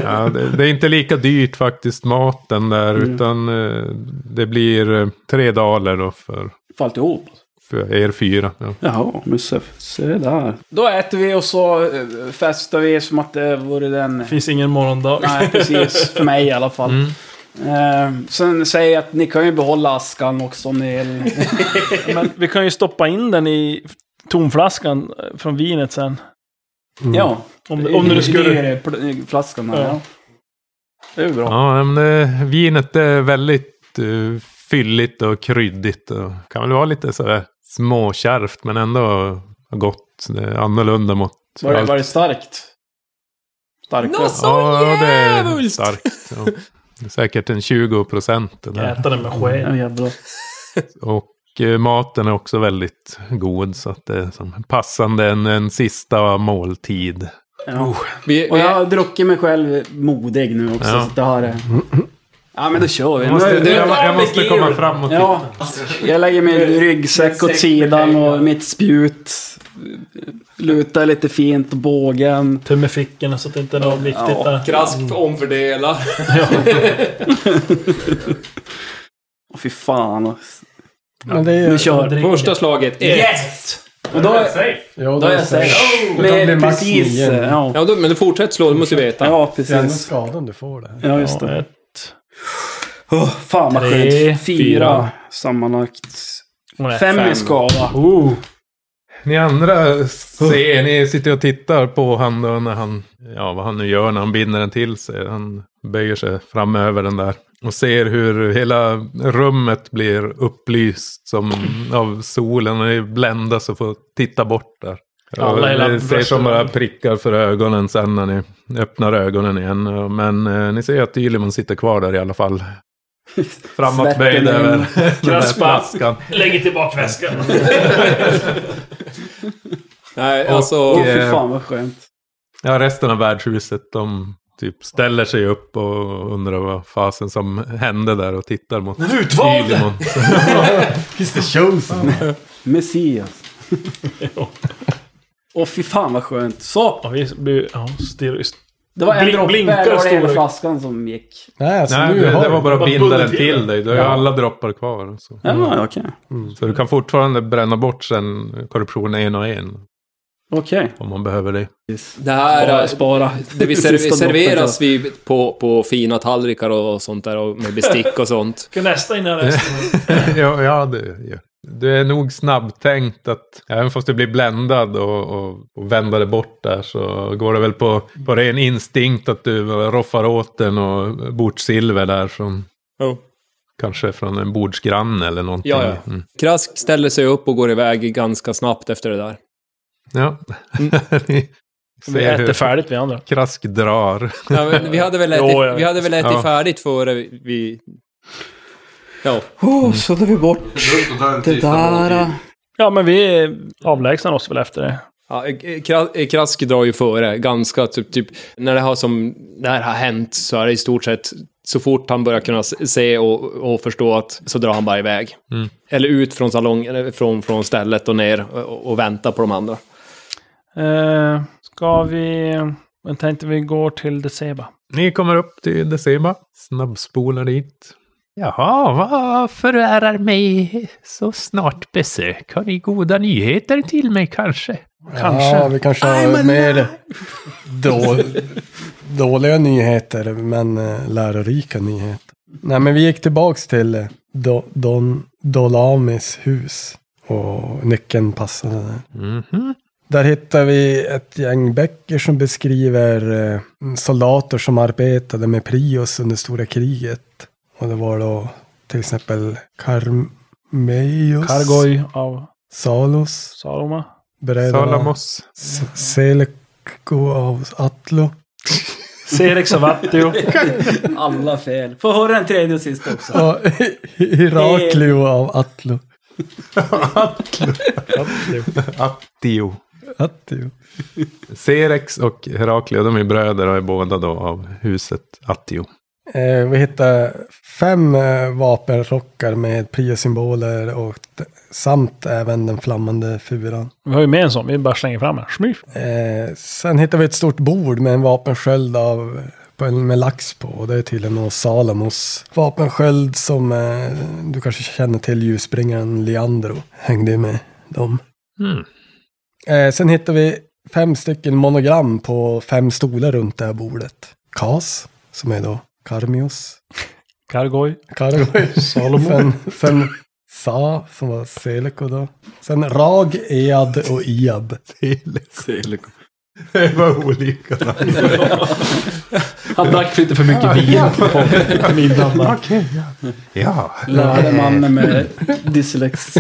Ja, det, det är inte lika dyrt faktiskt, maten där. Mm. Utan eh, det blir eh, tre daler då för, Fallt ihop. för er fyra. Ja. Jaha, Musse. Se där. Då äter vi och så eh, festar vi som att det vore den... finns ingen morgondag. Nej, precis. För mig i alla fall. Eh, sen säger jag att ni kan ju behålla askan också om ni vill. Men vi kan ju stoppa in den i tomflaskan eh, från vinet sen. Ja. Om, om du Det skulle... är pl- flaskan här, Ja. ja. Det är ju bra. Ja, men det, vinet är väldigt eh, fylligt och kryddigt. Och kan väl vara lite sådär småkärvt men ändå gott. Det är annorlunda mot Var det, allt. var det starkt? Starkare? Nå, så ja, det är jävligt! starkt. Ja. Det är säkert en 20 procent. det där. Äta den med sked. Ja, jävlar. Och eh, maten är också väldigt god. Så att det är som passande en, en sista måltid. Ja. Vi, Och vi, jag har druckit mig själv modig nu också. Ja. Så att det har... eh, Ja, men då kör vi. Jag måste, Nu- nu- jag, jag måste komma fram och titta. Ja, jag lägger min ryggsäck åt sidan och mitt spjut. Lutar lite fint bågen. Töm i fickorna så att det inte är något viktigt där. Krask omfördela. Åh fy fan. Men det är Nu kör Mm. vi. Första slaget. Ett. Yes! Och då, Jo, då är jag safe. Det kan Med bli max precis... nio. Ja, Ja, då, men du fortsätter slå, det måste vi veta. ja, Det är ändå precis. skadan du får där. Ja, just Ja, det. ett. Oh, fan vad Tre, skönt. Fyra fyra. sammanlagt. Hon är Fem fem. i skada. Oh. Ni andra ser, ni sitter och tittar på han då när han, ja vad han nu gör när han binder den till sig. Han böjer sig fram över den där. Och ser hur hela rummet blir upplyst som av solen. Och det bländas och får titta bort där. Alla Och hela ni ser som brösten. bara prickar för ögonen sen när ni öppnar ögonen igen. Men eh, ni ser att Ylimon sitter kvar där i alla fall. Framåtböjd Svetten över in. den där Kraspa. flaskan. Lägger tillbaka väskan. Nej, alltså... Åh eh, fy fan vad skönt. Ja, resten av värdshuset, de typ ställer sig upp och undrar vad fasen som hände där och tittar mot Den utvalde! Ylimon. He's the chosen. Messias. Åh fy fan vad skönt. Så! Ja, vi blir... Ja, stirrar Det var en Blink- droppe. blinkar Eller var det hela stora- flaskan som gick? Nej, alltså Nej, nu det, har det var bara att Bara binda den bullet i till den. dig. Du har ju alla droppar kvar. och Så. Ja, okej. så du kan fortfarande bränna bort sen korruption en och en. Okej. Om man behöver det. Det här... Spara, eh, spara. Det vi serv- Sista serveras droppen. vi på, på fina tallrikar och sånt där och med bestick och sånt. Ska nästa in här resten. ja, ja, det, ja. Du är nog snabbtänkt att även fast du blir bländad och, och, och vänder det bort där så går det väl på, på ren instinkt att du roffar åt den och bortsilver där från Kanske från en bordsgranne eller någonting. Ja, ja. Mm. Krask ställer sig upp och går iväg ganska snabbt efter det där. ja. Ni Vi ser äter hur färdigt vi andra. krask drar. Ja, men vi hade väl ätit, Jo, jag vi hade väl ätit Ja. färdigt före vi... Ja. Oh, suddar vi bort det där. Ja, men vi eh, avlägsnar oss väl efter det. Ja, Kra- eh, Krask drar ju före ganska, typ, typ när det har som, när det har hänt så är det i stort sett så fort han börjar kunna s- se och, och förstå att så drar han bara iväg. Mm. Eller ut från salongen, eller från, från stället och ner och, och väntar på de andra. Eh, ska vi... Jag tänkte vi går till Deceba. Ni kommer upp till Decima, snabbspolar dit. Jaha, vad förärar mig så snart besök? Har ni goda nyheter till mig kanske? Kanske. Ja, vi kanske har mer då, dåliga nyheter, men eh, lärorika nyheter. Nej, men vi gick tillbaks till eh, do, Don Dolamis hus och nyckeln passade där. Mhm. Där hittar vi ett gäng böcker som beskriver eh, soldater som arbetade med Prius under stora kriget. Och det var då till exempel Carmeios, Kargoj av Salus, Saloma. bröderna Salamos. S- Selko av Atlo. Serix av Attio. Alla fel. Får höra en tredje och sista också. Ja, Heraklio av Atlo. Attio. Attio. Serex och Heraklio, de är bröder och är båda då av huset Attio. Eh, vi hittade fem eh, vapenrockar med priosymboler och t- samt även den flammande furan. Vi har ju med en sån, vi bara slänger fram den. Smyf. Eh, sen hittade vi ett stort bord med en vapensköld av, på en- med lax på. Och det är tydligen någon Salamos vapensköld som eh, du kanske känner till, ljusbringaren Leandro. Hängde ju med dem. Mm. Eh, sen hittar vi fem stycken monogram på fem stolar runt det här bordet. Kas, som är då Karmios. Kargoj. Kargo. sen, sen Sa, som var Seleko då. Sen Rag, Ead och Iab. Det var olika. Han drack lite för mycket vin på middagen. va? Ja, Lärde mannen med dyslexi.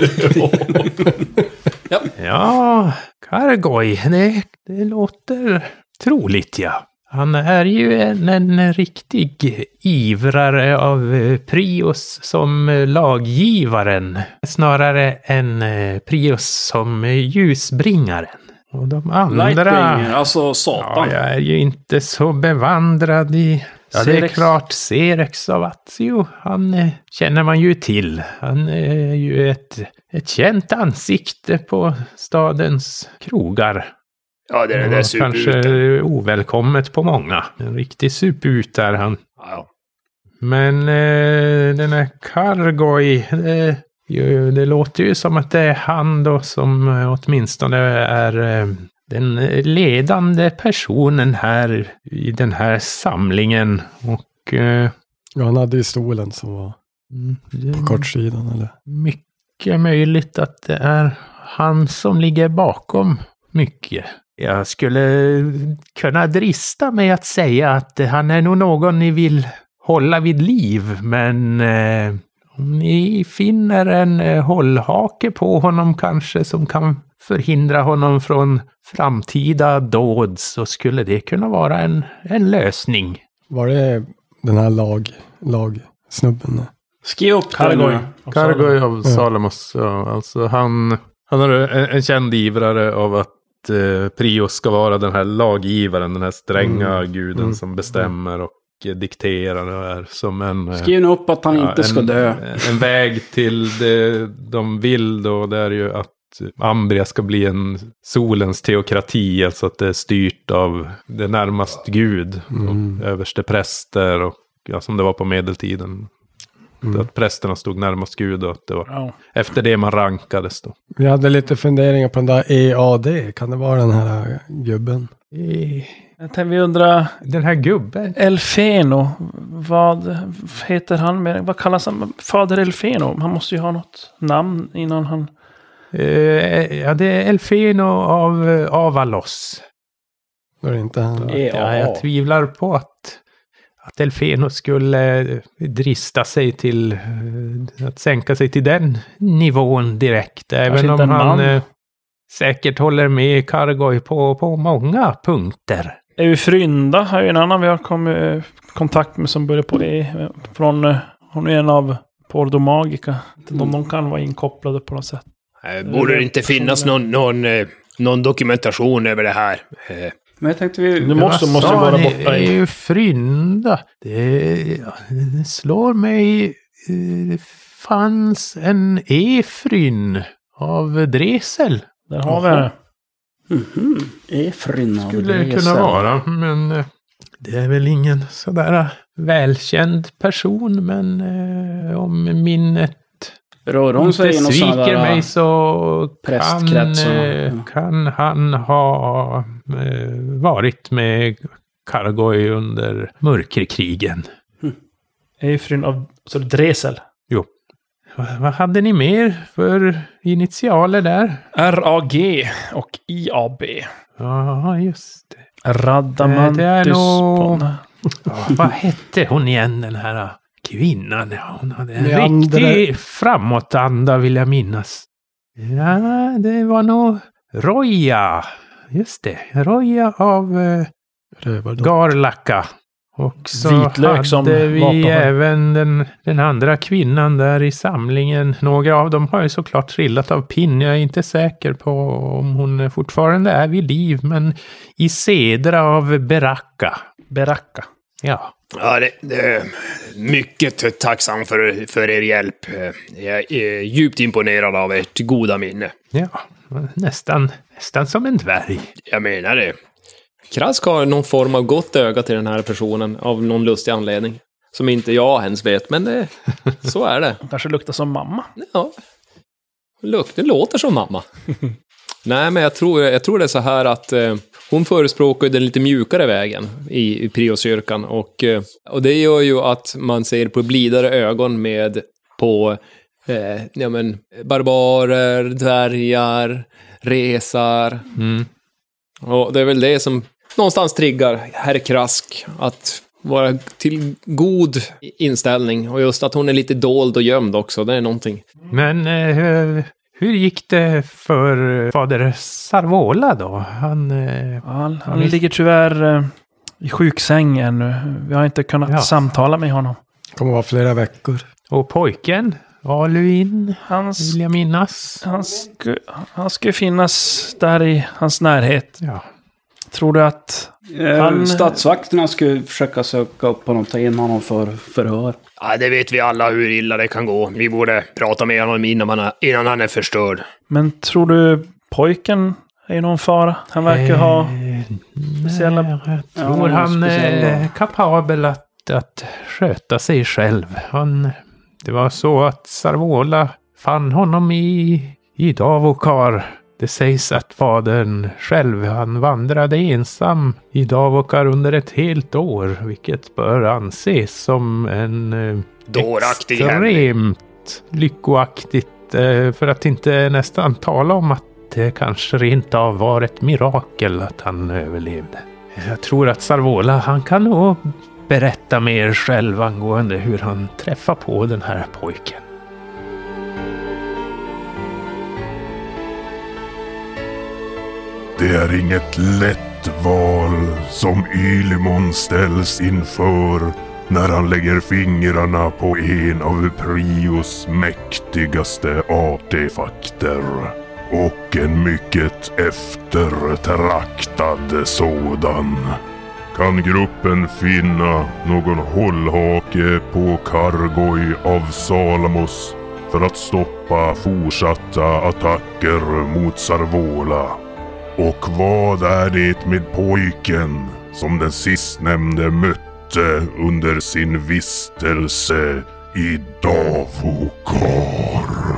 ja, Kargoj, det, det låter troligt ja. Han är ju en, en riktig ivrare av eh, Prius som eh, laggivaren. Snarare än eh, Prius som eh, ljusbringaren. Och de andra... Lightbringer, alltså Ja, satan. jag är ju inte så bevandrad i... Ja, det är Serex. klart, Serex av Azio, han eh, känner man ju till. Han är ju ett, ett känt ansikte på stadens krogar. Ja, det är den Och där kanske superuten. ovälkommet på många. En riktig suput är han. Ja, Men eh, den här Kargoj, det, ju, det låter ju som att det är han då som eh, åtminstone är eh, den ledande personen här i den här samlingen. Och eh, Ja, han hade ju stolen som var det på är kortsidan. Eller? mycket möjligt att det är han som ligger bakom mycket. Jag skulle kunna drista mig att säga att han är nog någon ni vill hålla vid liv, men eh, om ni finner en eh, hållhake på honom kanske som kan förhindra honom från framtida dåd så skulle det kunna vara en, en lösning. Var det den här lag, lagsnubben? Skriv upp det Kargoj. nu. av Kargoj Saloma. av Salamos, ja, alltså han, han är en, en känd ivrare av att eh, Prios ska vara den här laggivaren, den här stränga guden som bestämmer och eh, dikterar och är som en... eh, Skriv nu upp att han ja, inte ska en, dö. En väg till det de vill då, det är ju att Ambria ska bli en solens teokrati, alltså att det är styrt av det närmast gud, och överste präster och ja, som det var på medeltiden. Att prästerna stod närmast gud och att det var Ja. efter det man rankades då. Vi hade lite funderingar på den där EAD. Kan det vara den här gubben? Jag tänkte vi undrar, Den här gubben. Elfeno, vad heter han? Med, vad kallas han? Fader Elfeno? Han måste ju ha något namn innan han... Eh, ja, det är Elfeno av eh, Avalos. Var det inte han? E- Ja, jag tvivlar på att, att Elfeno skulle eh, drista sig till eh, att sänka sig till den nivån direkt. Även inte om en han man. eh, säkert håller med Kargoj på, på många punkter. Eufrynda har ju en annan vi har kommit i kontakt med som börjar på E. Från, eh, hon är en av Pordo Magica. Inte om de kan vara inkopplade på något sätt. Eh, Borde det inte finnas någon, någon, eh, någon dokumentation över det här? Eh, Men jag tänkte vi... Nu måste, Vad måste sa vara ni? borta Det är i... ju Frynda. Det, det slår mig... eh, Det fanns en Efryn av Dresel. Där har vi det. Mhm. Efryn av Skulle det kunna Dresel. vara, men eh, det är väl ingen sådär eh, välkänd person, men eh, om minnet Rör hon inte sig i någon sån sviker där... mig så kan, prästkretsen, eh, ja. kan han ha eh, varit med Kargoj under mörkerkrigen. Eifryn av... Så det är Dresel. Va- Vad hade ni mer för initialer där? RAG och IAB. Ja, just det. Radamantus. Det är nog- Ponna. Ja, Vad hette hon igen, den här kvinnan? Ja, hon hade en Leander. riktig framåtanda, vill jag minnas. Ja, det var nog Roja. Just det, Roja av eh, Rövardocka. Garlacka. Och så Vitlök hade som vi vapen. även den, den andra kvinnan där i samlingen. Några av dem har ju såklart trillat av pinn. Jag är inte säker på om hon fortfarande är vid liv, men i sedra av Beracka. Beracka. Ja. Ja, det, det är mycket tacksam för, för er hjälp. Eh, Jag är djupt imponerad av ert goda minne. Ja, nästan, nästan som en dvärg. Jag menar det. Krask har någon form av gott öga till den här personen av någon lustig anledning. Som inte jag ens vet, men det, så är det. Kanske luktar som mamma. Ja. Lukt, det låter som mamma. Nej, men jag tror, jag tror det är så här att eh, hon förespråkar ju den lite mjukare vägen i, i Priuskyrkan. Och, eh, och det gör ju att man ser på blidare ögon med på eh, ja, men, barbarer, dvärgar, resar. Och det är väl det som någonstans triggar herr Krask att vara till god inställning. Och just att hon är lite dold och gömd också, det är någonting. Men eh, hur gick det för eh, fader Sarvola då? Han... Eh, Han, han visst. ligger tyvärr eh, i sjuksäng ännu. Vi har inte kunnat Ja. samtala med honom. Kommer vara flera veckor. och pojken? Aluin, Han, sk- vill jag minnas. han, sku, han ska ju finnas där i hans närhet. Ja. Tror du att... Eh, Han- Statsvakterna skulle försöka söka upp honom, ta in honom för förhör. Ja, det vet vi alla hur illa det kan gå. Vi borde prata med honom innan han är, innan han är förstörd. Men tror du pojken är i någon fara? Han verkar ha... Eh, speciella- Nej, jag Ja, han har tror han speciella- är kapabel att, att sköta sig själv. Han, det var så att Sarvola fann honom i, i Davokar. Det sägs att fadern själv, han vandrade ensam i Davokar under ett helt år, vilket bör anses som en eh, Dåraktig hämnd. extremt lyckoaktigt. eh, För att inte nästan tala om att det kanske rent av var ett mirakel att han överlevde. Jag tror att Sarvola, han kan nog berätta mer själv angående hur han träffar på den här pojken. Det är inget lätt val som Ylimon ställs inför när han lägger fingrarna på en av Prios mäktigaste artefakter. Och en mycket eftertraktad sådan. Kan gruppen finna någon hållhake på Kargoj av Salamos för att stoppa fortsatta attacker mot Sarvola? Och vad är det med pojken som den sistnämnde mötte under sin vistelse i Davokar?